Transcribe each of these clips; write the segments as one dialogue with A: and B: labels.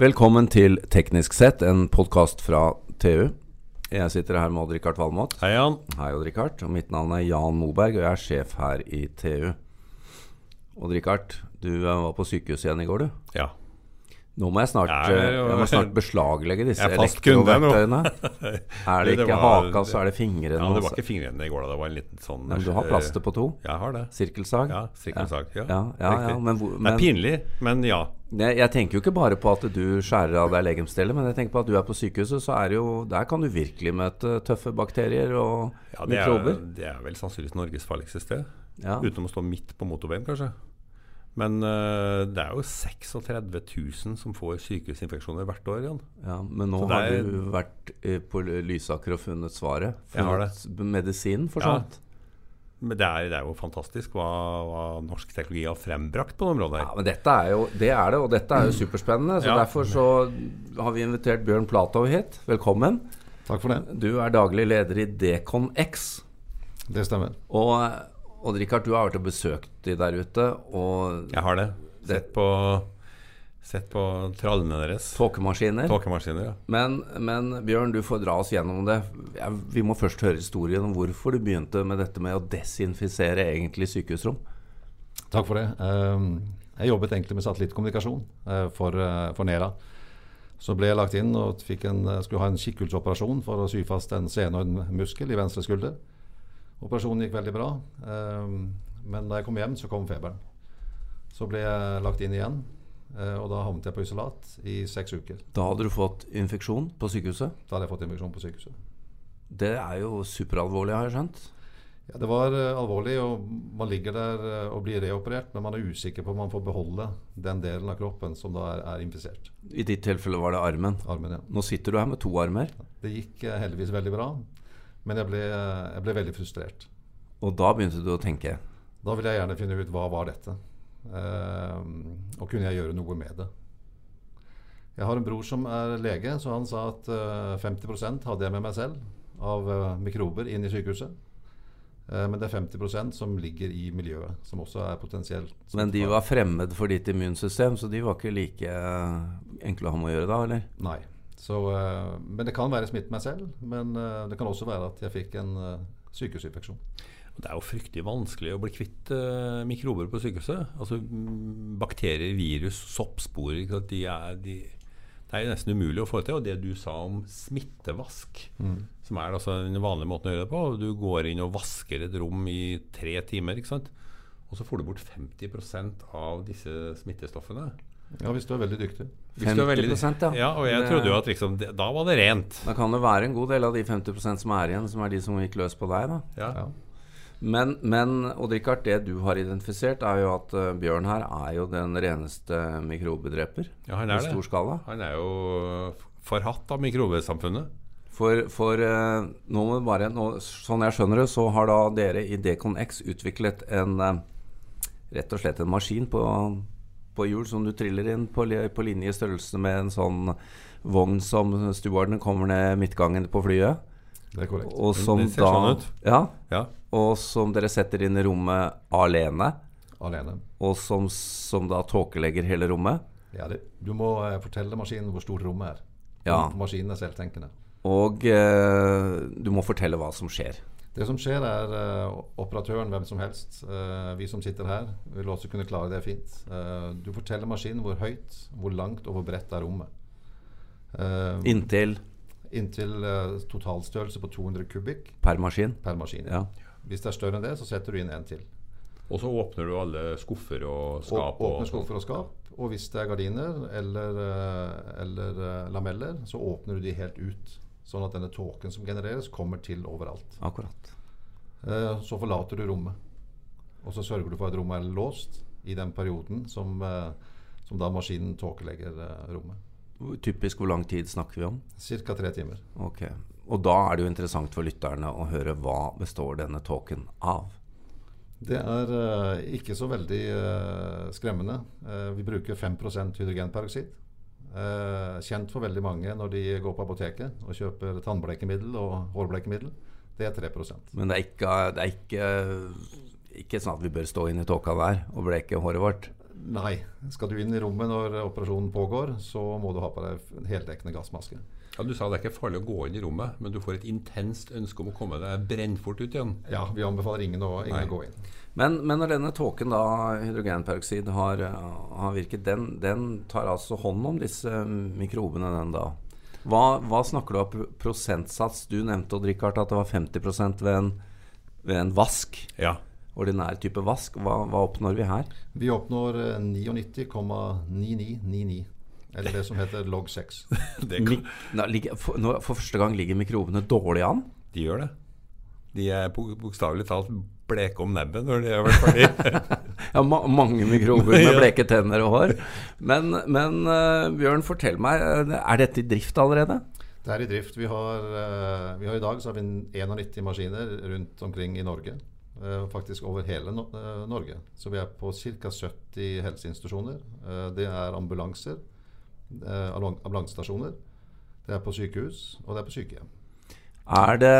A: Velkommen til Teknisk sett, en podkast fra TU. Jeg sitter her med Odd-Rikard Valmot.
B: Hei, Jan.
A: Hei, Odd-Rikard. Og Mitt navn er Jan Moberg, og jeg er sjef her i TU. Odd-Rikard, du eh, var på sykehuset igjen i går, du.
B: Ja.
A: Nå må jeg snart,
B: Ja,
A: eh,
B: det er jo-
A: jeg må snart beslaglegge disse
B: Jeg er fast kunde nå.
A: elektroverktøyene. Er det
B: Du, det
A: ikke
B: var-
A: haka, så er det fingrene.
B: Ja, det var
A: altså.
B: ikke fingrene i går, da. Det var en liten sånn eh,
A: Men du har plaster på to?
B: Jeg har det.
A: Sirkelsag?
B: Ja, sirkelsag. Ja,
A: Ja, ja,
B: riktig.
A: ja, men hvor-
B: Det
A: men-
B: er pinlig, men ja.
A: Jeg, jeg tenker jo ikke bare på at du skjærer av deg legemsdeler, men jeg tenker på at du er på sykehuset, så er det jo Der kan du virkelig møte tøffe bakterier og
B: ja det, er,
A: mikrober.
B: det er vel sannsynligvis Norges farligste sted.
A: Ja.
B: Utenom å stå midt på motorveien, kanskje. Men eh, det er jo 36 000 som får sykehusinfeksjoner hvert år, Jan.
A: ja, men nå
B: Så det
A: har
B: er-
A: du vært eh, på Lysaker og funnet svaret.
B: Jeg har
A: Funnet medisinen for
B: Ja.
A: sånt.
B: Men det er, det er jo fantastisk hva, hva norsk teknologi har frembrakt på det området.
A: Ja,
B: her.
A: men dette er jo Det er det, og dette er jo superspennende. Så
B: Ja.
A: derfor så har vi invitert Bjørn Platov hit. Velkommen.
C: Takk for det.
A: Du er daglig leder i DeconX.
C: Det stemmer.
A: Og Odd-Rikard, du har vært og besøkt de der ute, og
B: Jeg har det. Sett på, sett på trallene deres.
A: tåkemaskiner.
B: Tåkemaskiner, ja.
A: Men, men Bjørn, du får dra oss gjennom det. Jeg, vi må først høre historien om hvorfor du begynte med dette med å desinfisere egentlig sykehusrom.
C: Takk for det. Ehm, Jeg jobbet egentlig med satellittkommunikasjon eh, for, eh, for Nera. Så ble jeg lagt inn og fikk en, eh, skulle ha en kikkhullsoperasjon for å sy fast en senoidmuskel i venstre skulder. Operasjonen gikk veldig bra, ehm, men da jeg kom hjem, så kom feberen. Så ble jeg lagt inn igjen, eh, og da havnet jeg på isolat i seks uker.
A: Da hadde du fått infeksjon på sykehuset.
C: Da hadde jeg fått infeksjon på sykehuset.
A: Det er jo superalvorlig, har jeg skjønt.
C: Ja, det var eh, alvorlig, og man ligger der eh, og blir reoperert, men man er usikker på om man får beholde den delen av kroppen som da er, er infisert.
A: I ditt tilfelle var det armen.
C: Armen, ja.
A: Nå sitter du her med to armer,
C: Det gikk eh, heldigvis veldig bra, men jeg ble, eh, jeg ble veldig frustrert.
A: og da begynte du å tenke.
C: Da ville jeg gjerne finne ut hva var dette, Ehm, og kunne jeg gjøre noe med det. Jeg har en bror som er lege, så han sa at eh, 50 hadde jeg med meg selv av eh, mikrober inn i sykehuset. Eh, Men det er 50 som ligger i miljøet, som også er potensielt.
A: Men de var fremmed for ditt immunsystem, så de var ikke like eh, enkle å ha med å gjøre da, eller?
C: Nei. Så, eh, men det kan være smitte meg selv. Men eh, det kan også være at jeg fikk en eh, sykehusinfeksjon.
B: Det er jo fryktelig vanskelig å bli kvitt eh, mikrober på sykehuset. Altså mm, Bakterier, virus, soppsporer ikke sant? de er, de, Det er jo nesten umulig å få til. Og det du sa om smittevask,
A: Mm.
B: som er altså den vanlige måten å gjøre det på Du går inn og vasker et rom i tre timer, ikke sant? og så får du bort 50 av disse smittestoffene.
C: Ja, hvis du er veldig dyktig.
B: Hvis du er veldig-
A: 50%, ja. eh,
B: ja. Og jeg
A: Det-
B: trodde jo at liksom, det, da var det rent.
A: Da kan det være en god del av de 50 som er igjen, som er de som gikk løs på deg, da.
B: Ja.
C: Ja.
A: Men, men Odd-Rikard, det du har identifisert, er jo at eh, Bjørn her er jo den reneste mikrobedreper.
B: Ja, han er
A: I
B: det.
A: stor skala.
B: Han er jo eh, forhatt av mikrobesamfunnet.
A: For, for eh, nå må vi bare nå, Sånn jeg skjønner det, så har da dere i DeconX utviklet en eh, Rett og slett en maskin på, på hjul som du triller inn på, li- på linje i størrelse med en sånn vogn som stewardene kommer ned midtgangen på flyet.
C: Det er korrekt.
A: Og som
B: Det ser
A: da
B: sånn ut.
A: Ja.
B: Ja.
A: Og som dere setter inn i rommet alene.
C: Alene.
A: og som, som da tåkelegger hele rommet.
C: Ja, det, du må eh, fortelle maskinen hvor stort rommet er.
A: Ja.
C: Maskinen er selvtenkende.
A: Og eh, du må fortelle hva som skjer.
C: Det som skjer, er eh, operatøren, hvem som helst, eh, vi som sitter her, vil også kunne klare det fint. Eh, du forteller maskinen hvor høyt, hvor langt og hvor bredt er rommet. Eh,
A: Inntil
C: inntil eh, totalstørrelse på 200 kubikk
A: per maskin.
C: per maskin.
A: Ja.
C: Hvis det er større enn det, så setter du inn en til.
B: Og så åpner du alle skuffer og skap.
C: Skap
B: Og,
C: åpne skuffer og skap. Og hvis det er gardiner eller, eh, eller eh, lameller, så åpner du de helt ut. Sånn at denne tåken som genereres, kommer til overalt.
A: Akkurat.
C: Eh, Så forlater du rommet. Og så sørger du for at rommet er låst i den perioden som, eh, som da maskinen tåkelegger eh, rommet.
A: Typisk hvor lang tid snakker vi om?
C: Ca. tre timer.
A: Ok. Og da er det jo interessant for lytterne å høre hva består denne tåken av.
C: Det er eh, ikke så veldig eh, skremmende. Eh, vi bruker 5 hydrogenperoksid. Eh, kjent for veldig mange når de går på apoteket og kjøper tannblekemiddel og hårblekemiddel. Det er 3
A: Men det er ikke, det er ikke ikke sånn at vi bør stå inn i tåka der og bleke håret vårt.
C: Nei. Skal du inn i rommet når operasjonen pågår, så må du ha på deg en heldekkende gassmaske.
B: Ja, du sa det er ikke farlig å gå inn i rommet, men du får et intenst ønske om å komme deg brennfort ut igjen.
C: Ja, Vi anbefaler ingen å, ingen å gå inn.
A: Men, men når denne tåken, da, hydrogenperoksid, har, eh, har virket, den, den tar altså hånd om disse mikrobene, den da? Hva, hva snakker du om pro- prosentsats? Du nevnte Odd Rikard, at det var 50 ved en, ved en vask.
B: Ja.
A: Ordinær type vask. Hva, hva oppnår vi her?
C: Vi oppnår eh, 99,9999. Eller det som heter log 6.
B: Det kan,
A: Nå, ligger, for, nå, for første gang ligger mikrobene dårlig an.
B: de gjør det. De er bok- bokstavelig talt bleke om nebbet når de har vært ferdig.
A: Ja, ma mange mikrober med
B: Ja.
A: bleke tenner og hår. Men, men eh, Bjørn, fortell meg, eh, er dette i drift allerede?
C: Det er i drift. Vi har, eh, vi har i dag så har vi 91 maskiner rundt omkring i Norge. eh, Faktisk over hele No- eh, Norge. Så vi er på ca. 70 helseinstitusjoner. Eh, Det er ambulanser, eh, ambulan- ambulansestasjoner. Det er på sykehus, og det er på sykehjem.
A: Er det,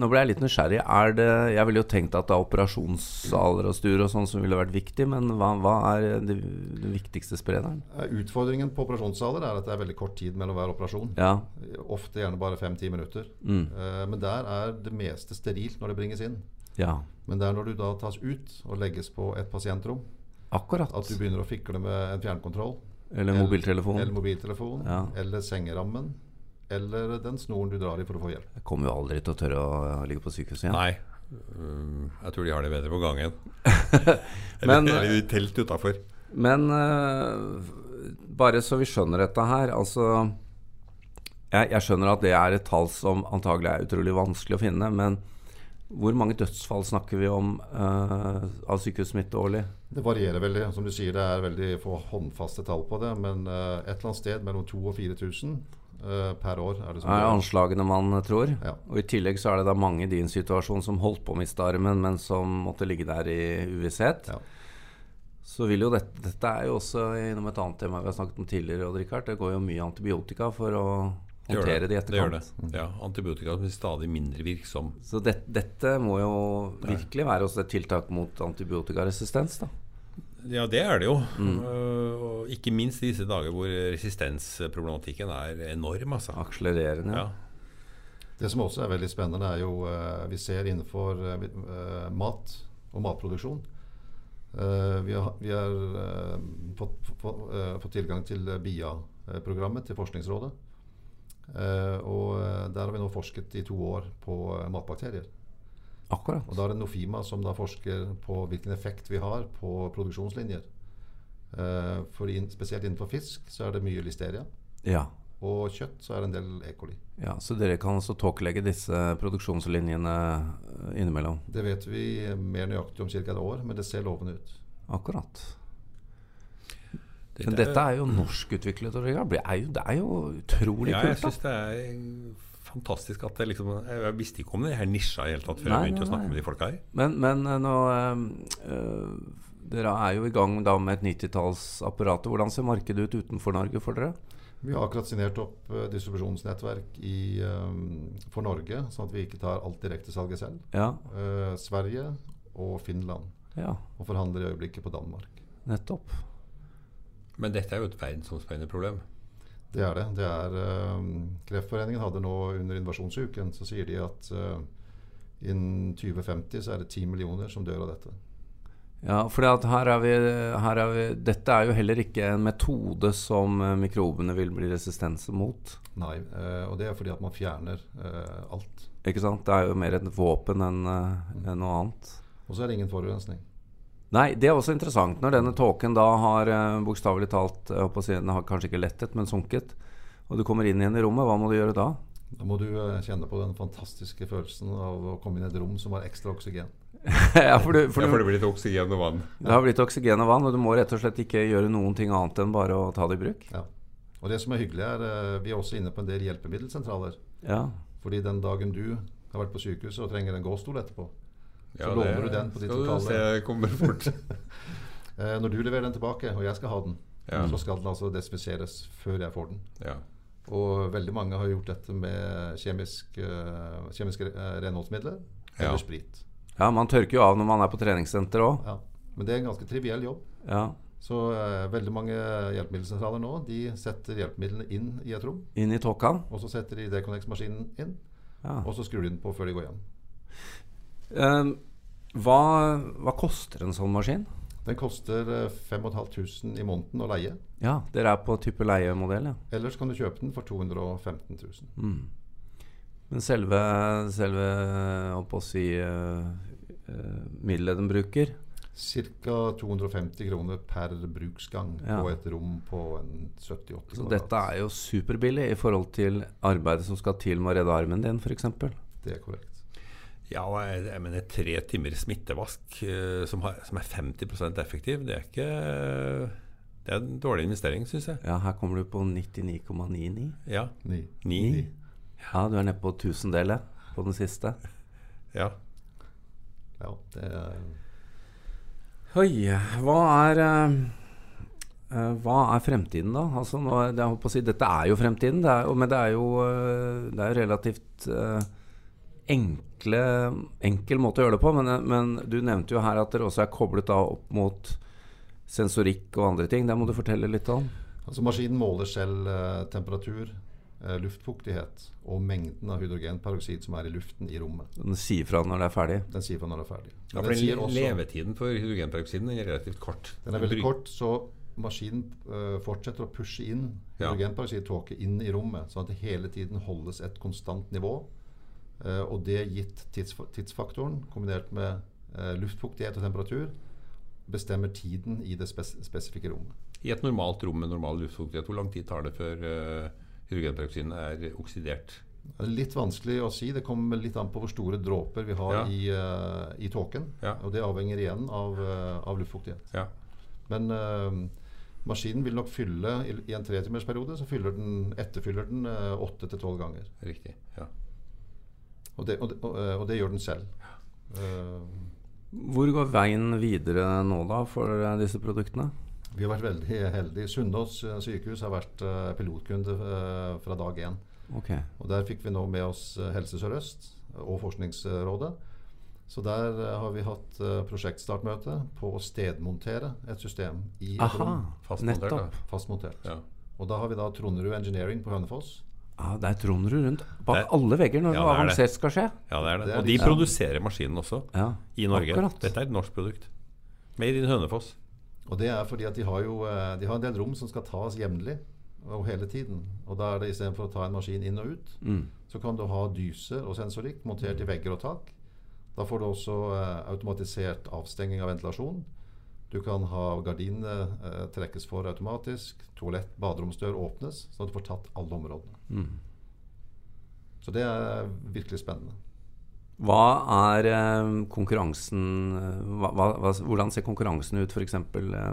A: nå ble jeg litt nysgjerrig. Er det, jeg ville jo tenkt at det er operasjonssaler og stuer og sånn som ville vært viktig, men hva, hva er det, den viktigste sprederen?
C: Eh, Utfordringen på operasjonssaler er at det er veldig kort tid mellom hver operasjon.
A: Ja,
C: Ofte gjerne bare fem-ti minutter. Eh, Men der er det meste sterilt når det bringes inn.
A: ja,
C: Men det er når du da tas ut og legges på et pasientrom,
A: akkurat.
C: at du begynner å fikle med en fjernkontroll.
A: Eller mobiltelefon.
C: Eller mobiltelefon.
A: Ja.
C: Eller sengerammen. Eller den snoren du drar i for å få hjelp.
A: Jeg kommer jo aldri til å tørre å ligge på sykehuset igjen.
B: Nei. Um, Jeg tror de har det bedre på gangen.
A: Men-
B: eller, eller i telt utafor.
A: Men eh, bare så vi skjønner dette her, altså jeg, jeg skjønner at det er et tall som antagelig er utrolig vanskelig å finne, men hvor mange dødsfall snakker vi om eh, av sykehussmitte årlig?
C: Det varierer veldig. Som du sier, det er veldig få håndfaste tall på det. Men eh, et eller annet sted mellom 2000 og 4000 eh, per år er det som
A: Det er
C: dør.
A: anslagene man eh, tror.
C: Ja.
A: Og i tillegg så er det da mange i din situasjon som holdt på å miste armen, men som måtte ligge der i uvisshet.
C: Ja.
A: Så vil jo dette, dette er jo også innom et annet tema vi har snakket om tidligere, Odd Rikard. Det går jo mye antibiotika for å
B: Det gjør
A: håndtere det i
B: Det gjør det.
A: etterkant.
B: Ja, Antibiotika blir stadig mindre virksom.
A: Så det, dette må jo virkelig være også et tiltak mot antibiotikaresistens, da.
B: Ja, det er det jo. Uh, og ikke minst i disse dager hvor resistensproblematikken er enorm, altså.
A: Akselererende.
B: Ja.
A: Ja.
C: Det som også er veldig spennende, er jo eh, vi ser innenfor eh, vi- eh, mat og matproduksjon. Eh, vi har, vi har eh, fått, få- eh, fått tilgang til eh, BIA-programmet til Forskningsrådet. Eh, og eh, der har vi nå forsket i to år på eh, matbakterier.
A: Akkurat.
C: Og da er det Nofima som da forsker på hvilken effekt vi har på produksjonslinjer. Eh, for inn- spesielt innenfor fisk så er det mye listeria.
A: Ja.
C: Og kjøtt så er det en del E. coli.
A: ja. Så dere kan også tåkelegge disse produksjonslinjene eh, innimellom.
C: Det vet vi mer nøyaktig om ca. et år, men det ser lovende ut.
A: Akkurat. Men dette er jo norskutviklet. og Det er jo, det er jo utrolig
B: Ja, jeg
A: kult.
B: syns det er fantastisk at det liksom Jeg jeg visste ikke om det her nisja i det hele tatt før
A: Nei,
B: jeg begynte
A: nei,
B: å snakke
A: nei.
B: med de folka her.
A: da. Men, men eh, nå eh, eh, Dere er jo i gang da med et 90-tallsapparat. Hvordan ser markedet ut utenfor Norge for dere?
C: Vi har akkurat signert opp eh, distribusjonsnettverk i, eh, for Norge, sånn at vi ikke tar alt direktesalget selv.
A: Ja,
C: Eh, Sverige og Finland.
A: ja
C: Og forhandler i øyeblikket på Danmark.
A: nettopp.
B: Men dette er jo et verdensomspennende problem.
C: Det er det. det er, eh, Kreftforeningen hadde nå under invasjonsuken, så sier de at eh, innen 2050 så er det 10 millioner som dør av dette.
A: Ja, for her er vi, her er vi, dette er jo heller ikke en metode som eh, mikrobene vil bli resistense mot.
C: Nei, eh, og det er fordi at man fjerner eh, alt.
A: Ikke sant? Det er jo mer et våpen enn eh, enn noe annet.
C: Og så er det ingen forurensning.
A: Nei, det er også interessant. Når denne tåken da har eh, bokstavelig talt jeg håper å si, Den har kanskje ikke lettet, men sunket, og du kommer inn igjen i rommet, hva må du gjøre da?
C: Da må du eh, kjenne på den fantastiske følelsen av å komme inn i et rom som har ekstra oksygen.
A: ja, for du, for
B: Ja,
A: du,
B: for det blir litt oksygen og vann.
A: det har blitt oksygen og vann, og du må rett og slett ikke gjøre noen ting annet enn bare å ta det i bruk.
C: Ja. Og det som er hyggelig, er eh, vi er også inne på en del hjelpemiddelsentraler.
A: Ja,
C: Fordi den dagen du har vært på sykehuset og trenger en gåstol etterpå,
B: Ja,
C: låner
B: det
C: du den på ditt
B: skal du
C: lokale.
B: se, det kommer fort.
C: eh, når du leverer den tilbake, og jeg skal ha den,
B: Ja.
C: så skal den altså desinfiseres før jeg får den.
B: Ja.
C: Og veldig mange har gjort dette med kjemisk, eh, kjemiske eh, renholdsmidler eller
B: Ja.
C: sprit.
A: ja man tørker jo av når man er på treningssenter òg.
C: Ja. Men det er en ganske triviell jobb.
A: Ja.
C: Så eh, veldig mange hjelpemiddelsentraler nå de setter hjelpemidlene inn i et rom.
A: Inn i tåka.
C: Og så setter de Deconnex-maskinen inn,
A: Ja.
C: og så skrur de den på før de går hjem.
A: Eh, hva, hva koster en sånn maskin?
C: Den koster eh, 5500 i måneden å leie.
A: Ja, dere er på type leiemodell, ja.
C: Ellers kan du kjøpe den for 215 000.
A: Mm. Men selve, selve holdt på å si, eh, eh, middelet den bruker
C: Ca. 250 kroner per bruksgang
A: Ja.
C: på et rom på en 70-80
A: Så
C: kvadrat.
A: dette er jo superbillig i forhold til arbeidet som skal til med å redde armen din, f.eks.
C: Det er korrekt.
B: Ja, og jeg, jeg mener tre timer smittevask eh, som, har, som er 50 effektiv, det er ikke Det er en dårlig investering, syns jeg.
A: Ja, her kommer du på 99,99.
B: Ja.
C: Ni.
B: Ni.
A: Ja, du er nede på tusendelet på den siste.
B: Ja.
C: Ja, det er,
A: Oi, hva er eh, eh, hva er fremtiden, da? Altså, nå, er- jeg holdt på å si, dette er jo fremtiden, det er, jo- men det er jo, eh, det er jo relativt eh, enkle, enkel måte å gjøre det på. Men, eh, men du nevnte jo her at dere også er koblet da opp mot sensorikk og andre ting. Det må du fortelle litt om.
C: altså maskinen måler selv eh, temperatur, eh, luftfuktighet og mengden av hydrogenperoksid som er i luften i rommet.
A: Den sier fra når det er ferdig.
C: Den sier fra når den er ferdig.
B: ja
C: Men
B: for
C: den sier
B: den
C: også-
B: levetiden for hydrogenperoksiden er relativt kort.
C: Den er veldig
B: Bruk-
C: kort, så maskinen eh, fortsetter å pushe inn
B: Ja.
C: hydrogenperoksidtåke inn i rommet, sånn at det hele tiden holdes et konstant nivå. Eh, og det gitt tidsf tidsfaktoren, kombinert med eh, luftfuktighet og temperatur, bestemmer tiden i det spes spesifikke rommet.
B: I et normalt rom med normal luftfuktighet, hvor lang tid tar det før uh, hydrogenperoksiden er oksidert?
C: Det er litt vanskelig å si. Det kommer litt an på hvor store dråper vi har
B: Ja.
C: i, eh, i tåken.
B: Ja.
C: Og det avhenger igjen av, eh, av luftfuktighet.
B: Ja.
C: Men eh, maskinen vil nok fylle i, i en tretimersperiode, så fyller den, etterfyller den eh, åtte til tolv ganger.
B: Riktig. Ja.
C: Og det, og, det, og, eh, og det gjør den selv. Eh,
A: Hvor går veien videre nå, da, for eh, disse produktene?
C: vi har vært veldig heldige. Sunnaas eh, sykehus har vært eh, pilotkunde eh, fra dag én.
A: Ok.
C: Og der fikk vi nå med oss eh, Helse Sør-Øst og Forskningsrådet. Så der eh, har vi hatt eh, prosjektstartmøte på å stedmontere et system i et
A: Aha,
C: rom.
B: Fastmontert,
A: nettopp.
B: da.
C: Fastmontert.
B: Ja.
C: Og da har vi da Tronderud Engineering på Hønefoss.
A: Ja, der troner du rundt bak
B: Det-
A: alle vegger når noe
B: Ja, det er det.
A: avansert skal skje.
B: ja, det er sånn. det.
C: Det er
B: Og de
C: litt-
B: produserer maskinen også,
A: Ja,
B: i Norge.
A: akkurat.
B: Dette er et norsk produkt. Made in Hønefoss.
C: Og det er fordi at de har jo eh, De har en del rom som skal tas jevnlig og hele tiden. Og da er det istedenfor å ta en maskin inn og ut,
A: Mm.
C: så kan du ha dyser og sensorikk montert i vegger og tak. Da får du også eh, automatisert avstenging av ventilasjon. Du kan ha gardinene eh, trekkes for automatisk. Toalett, baderomsdør åpnes, sånn at du får tatt alle områdene. Så det er virkelig spennende.
A: Hva er eh, konkurransen eh, hva, hva, hva, Hvordan ser konkurransen ut f.eks. Eh,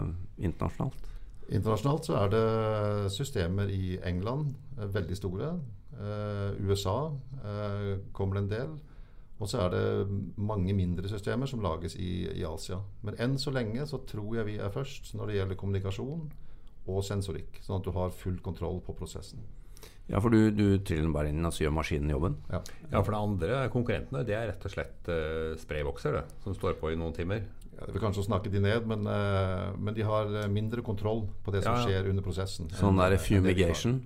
A: internasjonalt?
C: Internasjonalt så er det systemer i England, eh, veldig store. Eh, USA eh, kommer det en del. Og så er det mange mindre systemer som lages i, i Asia. Men enn så lenge så tror jeg vi er først når det gjelder kommunikasjon og sensorikk. Sånn at du har full kontroll på prosessen.
A: Ja, for du, du triller den bare inn, og så gjør maskinen jobben.
C: Ja.
B: Ja, for det andre, konkurrentene, det er rett og slett eh, spraybokser, det. Som står på i noen timer.
C: Jeg vil kanskje snakke de ned, men, eh, men de har eh, mindre kontroll på det som
B: Ja, ja.
C: skjer under prosessen.
A: Sånn
C: enn-
A: der
C: enn det vi har.
A: fumigation.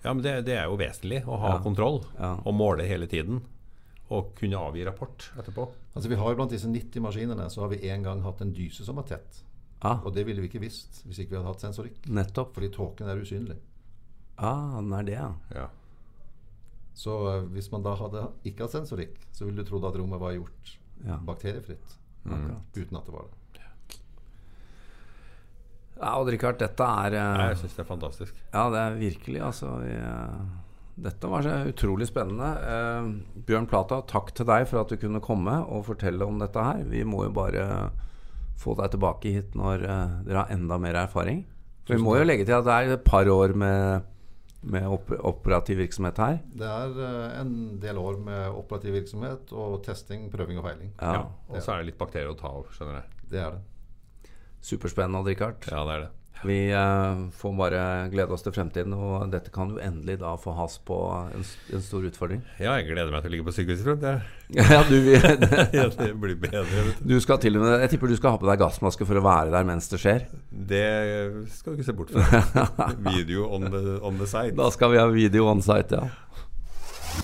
B: Ja, men det, det er jo vesentlig å ha kontroll
A: Ja.
B: og måle hele tiden. Og kunne avgi rapport etterpå.
C: Altså Vi har jo Blant disse 90 maskinene så har vi en gang hatt en dyse som var tett.
A: Ah,
C: Og det ville vi ikke visst hvis ikke vi hadde hatt sensorikk.
A: nettopp.
C: Fordi tåken er usynlig.
A: Ah, den er det, ja.
B: Ja.
C: Så eh, hvis man da hadde ikke hatt sensorikk, så ville du trodd at rommet var gjort
A: Ja.
C: bakteriefritt. Mm.
A: Akkurat.
C: Uten at det var det.
A: Ja, Odd Rikard, dette er
B: Nei,
A: eh,
B: Jeg syns det er fantastisk.
A: Ja, det er virkelig, altså. Vi, eh, dette var så utrolig spennende. Eh, Bjørn Plata, takk til deg for at du kunne komme og fortelle om dette her. Vi må jo bare få deg tilbake hit når eh, dere har enda mer erfaring. For vi må jo legge til at det er et par år med, med op operativ virksomhet her.
C: Det er eh, en del år med operativ virksomhet og testing, prøving og feiling.
A: Ja,
B: Og så er det litt bakterier å ta av, skjønner jeg.
C: Det er det.
A: Superspennende, Odd Rikard.
B: Ja, det er det.
A: Vi eh, får bare glede oss til fremtiden, og dette kan jo endelig da få has på en, s- en stor utfordring.
B: Ja, jeg gleder meg til å ligge på sykehus i fremtiden.
A: Ja, du, vil-
B: Ja, det blir bedre. vet du.
A: du skal til og med, jeg tipper du skal ha på deg gassmaske for å være der mens det skjer.
B: Det skal du ikke se bort fra. Video on the, on the side.
A: Da skal vi ha video on site, ja.